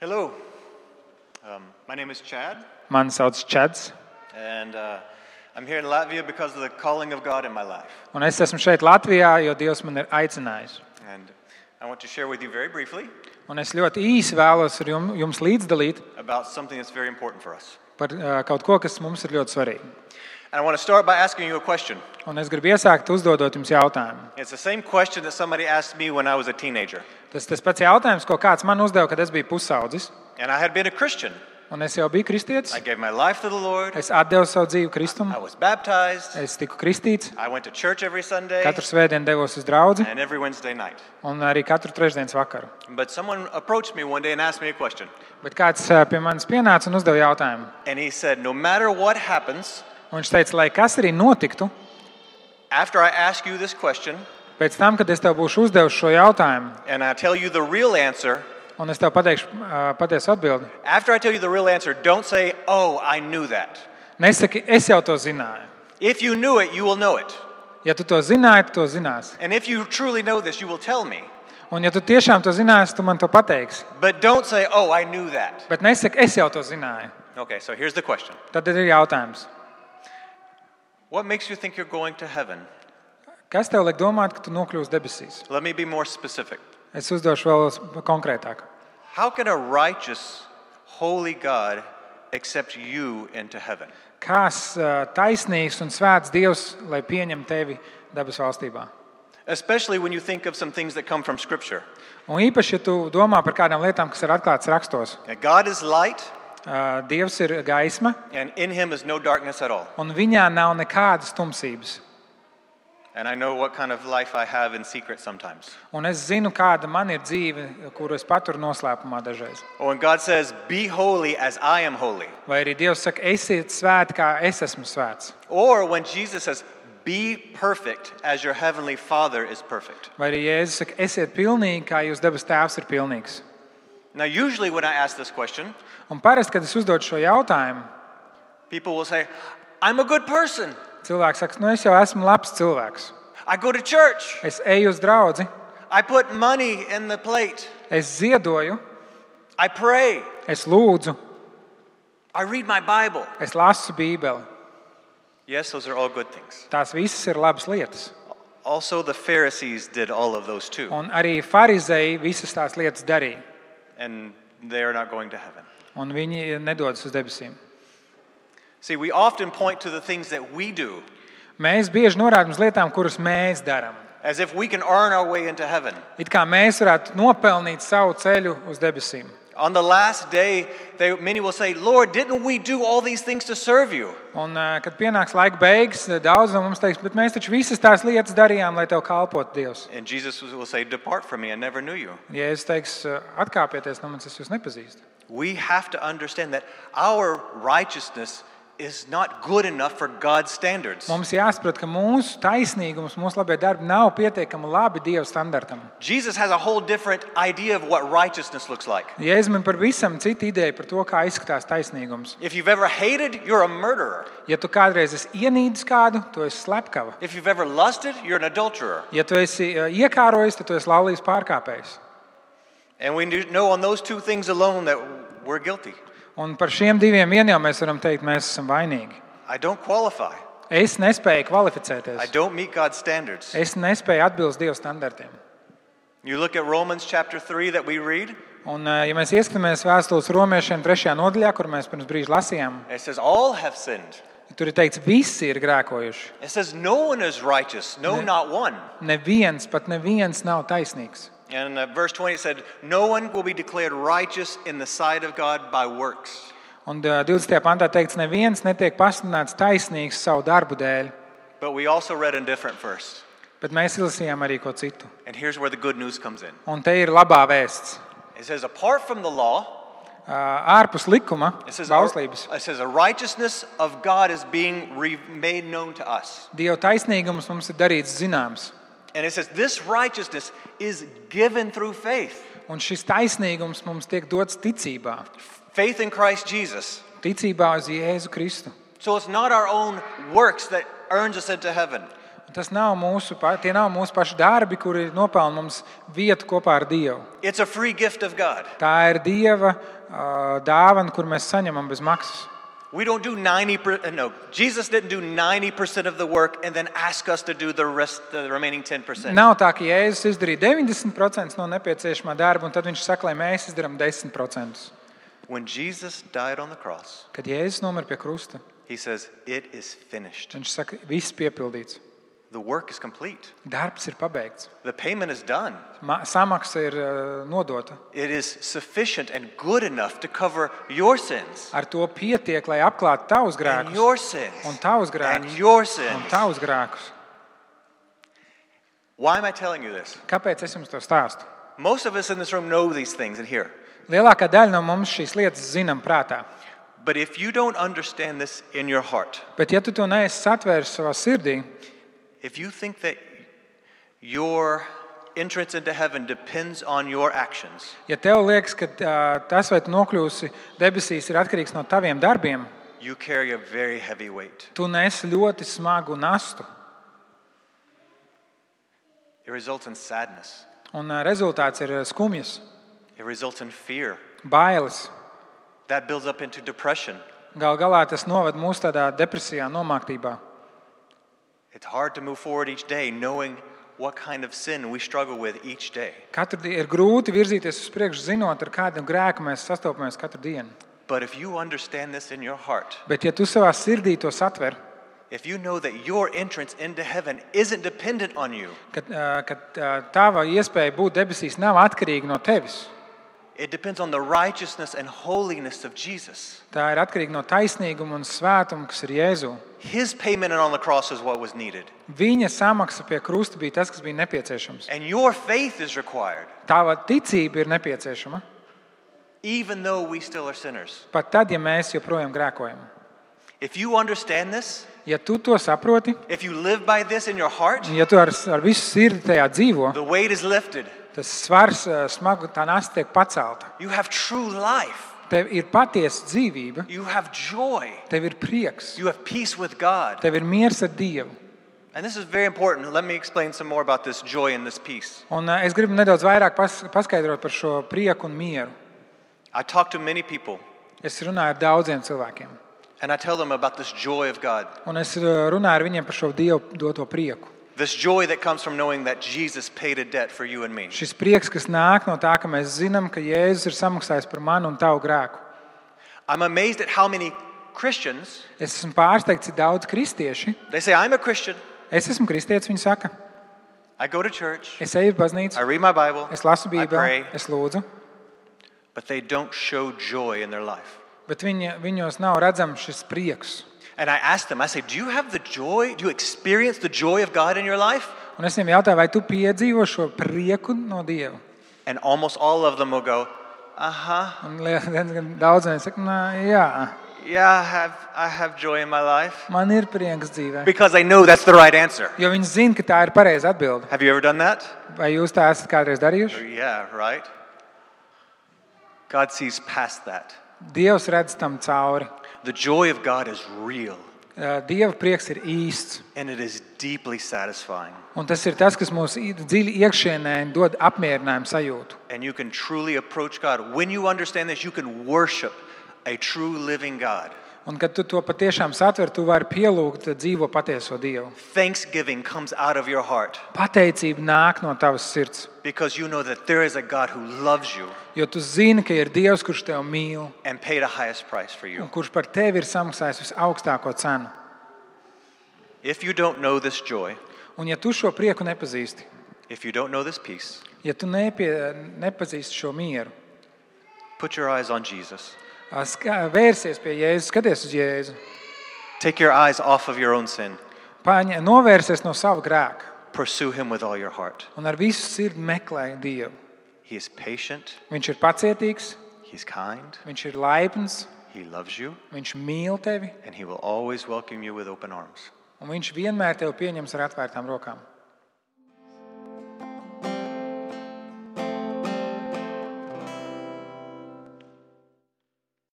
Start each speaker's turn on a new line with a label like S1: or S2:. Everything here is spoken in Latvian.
S1: Hello. Um, my name is Chad,
S2: Mani sauc Čads,
S1: and uh, I'm here in Latvia because of the calling of God in my life.
S2: un es esmu šeit Latvijā, jo Dievs man ir aicinājis.
S1: And I want to share with you very briefly
S2: Un es ļoti īsi vēlos ar jum- jums līdzdalīt
S1: about something that's very important for us.
S2: par ā, kaut ko, kas mums ir ļoti svarīgi.
S1: And I want to start by asking you a question.
S2: Un es gribu iesākt uzdodot jums jautājumu.
S1: It's the same question that somebody asked me when I was a teenager.
S2: Tas tas pats jautājums, ko kāds man uzdeva, kad es biju pusaudzis.
S1: And I had been a Christian.
S2: Un es jau biju kristietis.
S1: I gave my life to the Lord,
S2: Es devu savu dzīvi
S1: I
S2: Kristum.
S1: was baptized,
S2: Es tiku kristīts.
S1: I went to church every Sunday
S2: Katru svētdienu devos uz draugu
S1: and every Wednesday night.
S2: un arī katru trešdienas vakaru.
S1: But someone approached me one day and asked me a question.
S2: Bet kāds ā, pie manis pienāca un uzdeva jautājumu.
S1: And he said, No matter what happens,
S2: Un viņš teica, lai kas arī notiktu,
S1: after I ask you this question,
S2: pēc tam, kad es tev būšu uzdevis šo jautājumu,
S1: and I tell you the real answer,
S2: Un es tev pateikšu ā, patiesu atbildi.
S1: after I tell you the real answer, don't say, Oh, I knew that.
S2: Nesaki, es jau to zināju.
S1: If you knew it, you will know it.
S2: Ja tu to zināji, tu to zināsi.
S1: And if you truly know this, you will tell me.
S2: Un, ja tu tiešām to zināsi, tu man to pateiksi.
S1: But don't say, Oh, I knew that.
S2: Bet nesaki, es jau to zināju.
S1: Okay, so here's the question
S2: Tad ir jautājums,
S1: What makes you think you're going to heaven?
S2: kas tev liek domāt, ka tu nokļūsi debesīs?
S1: Let me be more specific.
S2: Es uzdošu vēl s- konkrētāk.
S1: How can a righteous, holy God accept you into heaven?
S2: Kāds ā, taisnīgs un svēts Dievs, lai pieņem tevi dabas valstībā?
S1: Especially when you think of some things that come from Scripture.
S2: Un īpaši, ja tu domā par kādām lietām, kas ir atklātas rakstos,
S1: Now, God is light,
S2: Ā, Dievs ir gaisma,
S1: and in him is no darkness at all.
S2: un viņā nav nekādas tumsības.
S1: And I know what kind of life I have in secret sometimes.
S2: Un es zinu, kāda man ir dzīve, kuru es paturu noslēpumā dažreiz.
S1: Or when God says, Be holy as I am holy.
S2: Vai arī Dievs saka, esiet svēti, kā es esmu svēts.
S1: Or when Jesus says, Be perfect as your heavenly Father is perfect.
S2: Vai arī Jēzus saka, esiet pilnīgi, kā jūs debes tēvs ir pilnīgs.
S1: Now, usually when I ask this question,
S2: Un parasti, kad es uzdodu šo jautājumu,
S1: people will say, I'm a good person.
S2: cilvēks saka, nu es jau esmu labs cilvēks.
S1: I go to church.
S2: Es eju uz draugu,
S1: I put money in the plate.
S2: es ziedoju,
S1: I pray.
S2: es lūdzu,
S1: I read my Bible.
S2: es lasu Bībeli.
S1: Yes, those are all good things.
S2: Tās visas ir labas lietas.
S1: Also, the Pharisees did all of those too,
S2: Un arī farizēji visas tās lietas darīja.
S1: and they are not going to heaven.
S2: Un viņi nedodas uz debesīm.
S1: See, we often point to the things that we do
S2: Mēs bieži norādām uz lietām, kuras mēs darām.
S1: as if we can earn our way into heaven.
S2: It kā mēs varētu nopelnīt savu ceļu uz debesīm.
S1: On the last day, they, many will say, Lord, didn't we do all these things to serve you?
S2: Un, ā, kad pienāks laika beigas, daudz no mums teiks, bet mēs taču visas tās lietas darījām, lai tev kalpotu Dievs.
S1: And Jesus will say, Depart from me, I never knew you.
S2: Ja es teiktu, atkāpieties no manis, es jūs nepazīstu.
S1: We have to understand that our righteousness is not good enough for God's standards.
S2: Mums jāsaprot, ka mūsu taisnīgums, mūsu labie darbi nav pietiekami labi Dieva standartam.
S1: Jesus has a whole different idea of what righteousness looks like.
S2: Jēzus man par visam citu ideju par to, kā izskatās taisnīgums.
S1: If you've ever hated, you're a murderer.
S2: Ja tu kādreiz esi ienīdis kādu, tu esi slepkava.
S1: If you've ever lusted, you're an adulterer.
S2: Ja tu esi ā, iekārojis, tad tu esi laulības pārkāpējs.
S1: And we do know on those two things alone that we're guilty.
S2: Un par šiem diviem vien jau mēs varam teikt, mēs esam vainīgi.
S1: I don't qualify.
S2: Es nespēju
S1: I
S2: kvalificēties.
S1: don't meet God's standards.
S2: Es nespēju atbilst Dieva standartiem.
S1: You look at Romans chapter 3 that we read,
S2: Un, eh, ja mēs ieskatāmies vēstules romiešiem, trešajā nodaļā, kur mēs pirms brīža lasījām,
S1: it says, All have sinned.
S2: tur ir teikts, visi ir grēkojuši.
S1: It says, No one is righteous, no, not one.
S2: Neviens, pat neviens nav taisnīgs.
S1: And uh, verse 20 it said, No one will be declared righteous in the sight of God by works.
S2: Un eh, 20. pantā teikts, neviens netiek pasludināts taisnīgs savu darbu dēļ,
S1: But we also read a different verse.
S2: bet mēs izlasījām arī ko citu.
S1: And here's where the good news comes in
S2: Un te ir labā vēsts.
S1: it says, Apart from the law,
S2: Eh, Ārpus likuma,
S1: it says,
S2: bauslības,
S1: it says, The righteousness of God is being re- made known to us.
S2: Dieva taisnīgums mums ir darīts zināms.
S1: And it says, This righteousness is given through faith
S2: Un šis taisnīgums mums tiek dots ticībā,
S1: faith in Christ Jesus.
S2: ticībā uz Jēzu Kristu.
S1: So it's not our own works that earns us into heaven.
S2: Un Tas nav mūsu, pa- tie nav mūsu paši darbi, kuri nopelna mums vietu kopā ar Dievu.
S1: It's a free gift of God.
S2: Tā ir Dieva uh, dāvana, kur mēs saņemam bez maksas.
S1: We don't do 90%, no, Jesus didn't do 90% of the work and then ask us to do the rest, the remaining 10%.
S2: Nav tā, ka Jēzus izdarīja 90% no nepieciešamā darba, un tad viņš saka, lai mēs izdarām 10%.
S1: When Jesus died on the cross,
S2: Kad Jēzus nomira pie krusta,
S1: he says, It is finished.
S2: viņš saka, viss piepildīts.
S1: The work is complete.
S2: Darbs ir pabeigts,
S1: The payment is done.
S2: Ma samaksa ir uh, nodota.
S1: It is sufficient and good enough to cover your sins.
S2: Ar to pietiek, lai apklātu tavus
S1: And
S2: grēkus
S1: your sins.
S2: un tavus
S1: And
S2: grēkus
S1: your
S2: un
S1: sins.
S2: tavus grēkus.
S1: Why am I telling you this?
S2: Kāpēc es jums to stāstu?
S1: Most of us in this room know these things and here.
S2: Lielākā daļa no mums šīs lietas zinām prātā.
S1: But if you don't understand this in your heart,
S2: Bet, ja tu to neesi satvēris savā sirdī,
S1: if you think that your entrance into heaven depends on your actions,
S2: ja tev liekas, ka ā, tas, vai tu nokļūsi debesīs, ir atkarīgs no taviem darbiem,
S1: you carry a very heavy weight.
S2: tu nesi ļoti smagu nastu.
S1: It results in sadness,
S2: Un ā, rezultāts ir skumjas,
S1: it results in fear.
S2: bailes.
S1: That builds up into depression.
S2: Galu galā tas noved mūs tādā depresijā, nomāktībā.
S1: It's hard to move forward each day knowing what kind of sin we struggle with each day.
S2: Katru dienu ir grūti virzīties uz priekšu, zinot, ar kādu grēku mēs sastopamies katru dienu.
S1: But if you understand this in your heart,
S2: Bet, ja tu savā sirdī to satver,
S1: if you know that your entrance into heaven isn't dependent on you,
S2: kad, ā, kad ā, tava iespēja būt debesīs nav atkarīga no tevis,
S1: it depends on the righteousness and holiness of Jesus.
S2: tā ir atkarīga no taisnīguma un svētuma, kas ir Jēzu.
S1: His payment on the cross is what was needed.
S2: Viņa samaksa pie krusta bija tas, kas bija nepieciešams.
S1: And your faith is required,
S2: Tava ticība ir nepieciešama
S1: even though we still are sinners.
S2: pat tad, ja mēs joprojām grēkojam.
S1: If you understand this,
S2: Ja tu to saproti,
S1: if you live by this in your heart,
S2: un ja tu ar, ar visu sirdi tajā dzīvo,
S1: the weight is lifted.
S2: tas svars, ā, smagu tā nasta tiek pacelta.
S1: You have true life.
S2: Tev ir patiesa dzīvība,
S1: You have joy.
S2: tev ir prieks,
S1: You have peace with God.
S2: tev ir miers ar Dievu.
S1: And this is very important. Let me explain some more about this joy and this peace.
S2: Un ā, es gribu nedaudz vairāk pas, paskaidrot par šo prieku un mieru.
S1: I talk to many people
S2: Es runāju ar daudziem cilvēkiem,
S1: and I tell them about this joy of God,
S2: un es ā, runāju ar viņiem par šo Dievu doto prieku.
S1: this joy that comes from knowing that Jesus paid a debt for you and me.
S2: Šis prieks, kas nāk no tā, ka mēs zinām, ka Jēzus ir samaksājis par manu un tavu grēku.
S1: I'm amazed at how many Christians,
S2: Es esmu pārsteigts, cik daudz kristieši.
S1: they say, I'm a Christian.
S2: Es esmu kristietis, viņi saka,
S1: I go to church.
S2: es eju uz
S1: I
S2: baznīcu,
S1: read my Bible.
S2: es lasu
S1: I pray.
S2: Bībeli, es lūdzu.
S1: But they don't show joy in their life.
S2: Bet viņi, viņos nav redzams šis prieks.
S1: And I ask them, I say, Do you have the joy? Do you experience the joy of God in your life?
S2: Un es viņiem jautāju, vai tu piedzīvo šo prieku no Dieva?
S1: And almost all of them will go, Uh huh.
S2: Un liel- diezgan daudz viņi saka, "Nā, jā,
S1: Yeah, I have, I have joy in my life.
S2: man ir prieks dzīvē.
S1: Because they know that's the right answer.
S2: Jo viņi zina, ka tā ir pareiza atbilde.
S1: Have you ever done that?
S2: Vai jūs tā esat kādreiz darījuši?
S1: Yeah, right? God sees past that.
S2: Dievs redz tam cauri.
S1: The joy of God is real
S2: Dieva prieks ir īsts.
S1: and it is deeply satisfying.
S2: Un tas ir tas, kas mums i- dziļi iekšienē dod apmierinājumu sajūtu.
S1: And you can truly approach God. When you understand this, you can worship a true living God.
S2: Un kad tu to patiešām satver, tu vari pielūgt dzīvo patieso Dievu.
S1: Thanksgiving comes out of your heart
S2: Pateicība nāk no tavas sirds,
S1: because you know that there is a God who loves you
S2: jo tu zini, ka ir Dievs, kurš tev mīl
S1: and paid a highest price for
S2: un
S1: you.
S2: kurš par tevi ir samaksājis visaugstāko cenu.
S1: If you don't know this joy,
S2: Un ja tu šo prieku nepazīsti,
S1: if you don't know this peace,
S2: ja tu nepie, nepazīsti šo mieru,
S1: put your eyes on Jesus.
S2: ā, ska- vērsies pie Jēzus, skaties uz Jēzu,
S1: Take your eyes off of your own sin.
S2: paņa, novērsies no sava grēka
S1: Pursue him with all your heart.
S2: un ar visu sirdi meklē Dievu.
S1: He is patient,
S2: Viņš ir pacietīgs,
S1: he's kind,
S2: viņš ir laipns,
S1: he loves you,
S2: viņš mīl tevi
S1: and he will always welcome you with open arms.
S2: un viņš vienmēr tevi pieņems ar atvērtām rokām.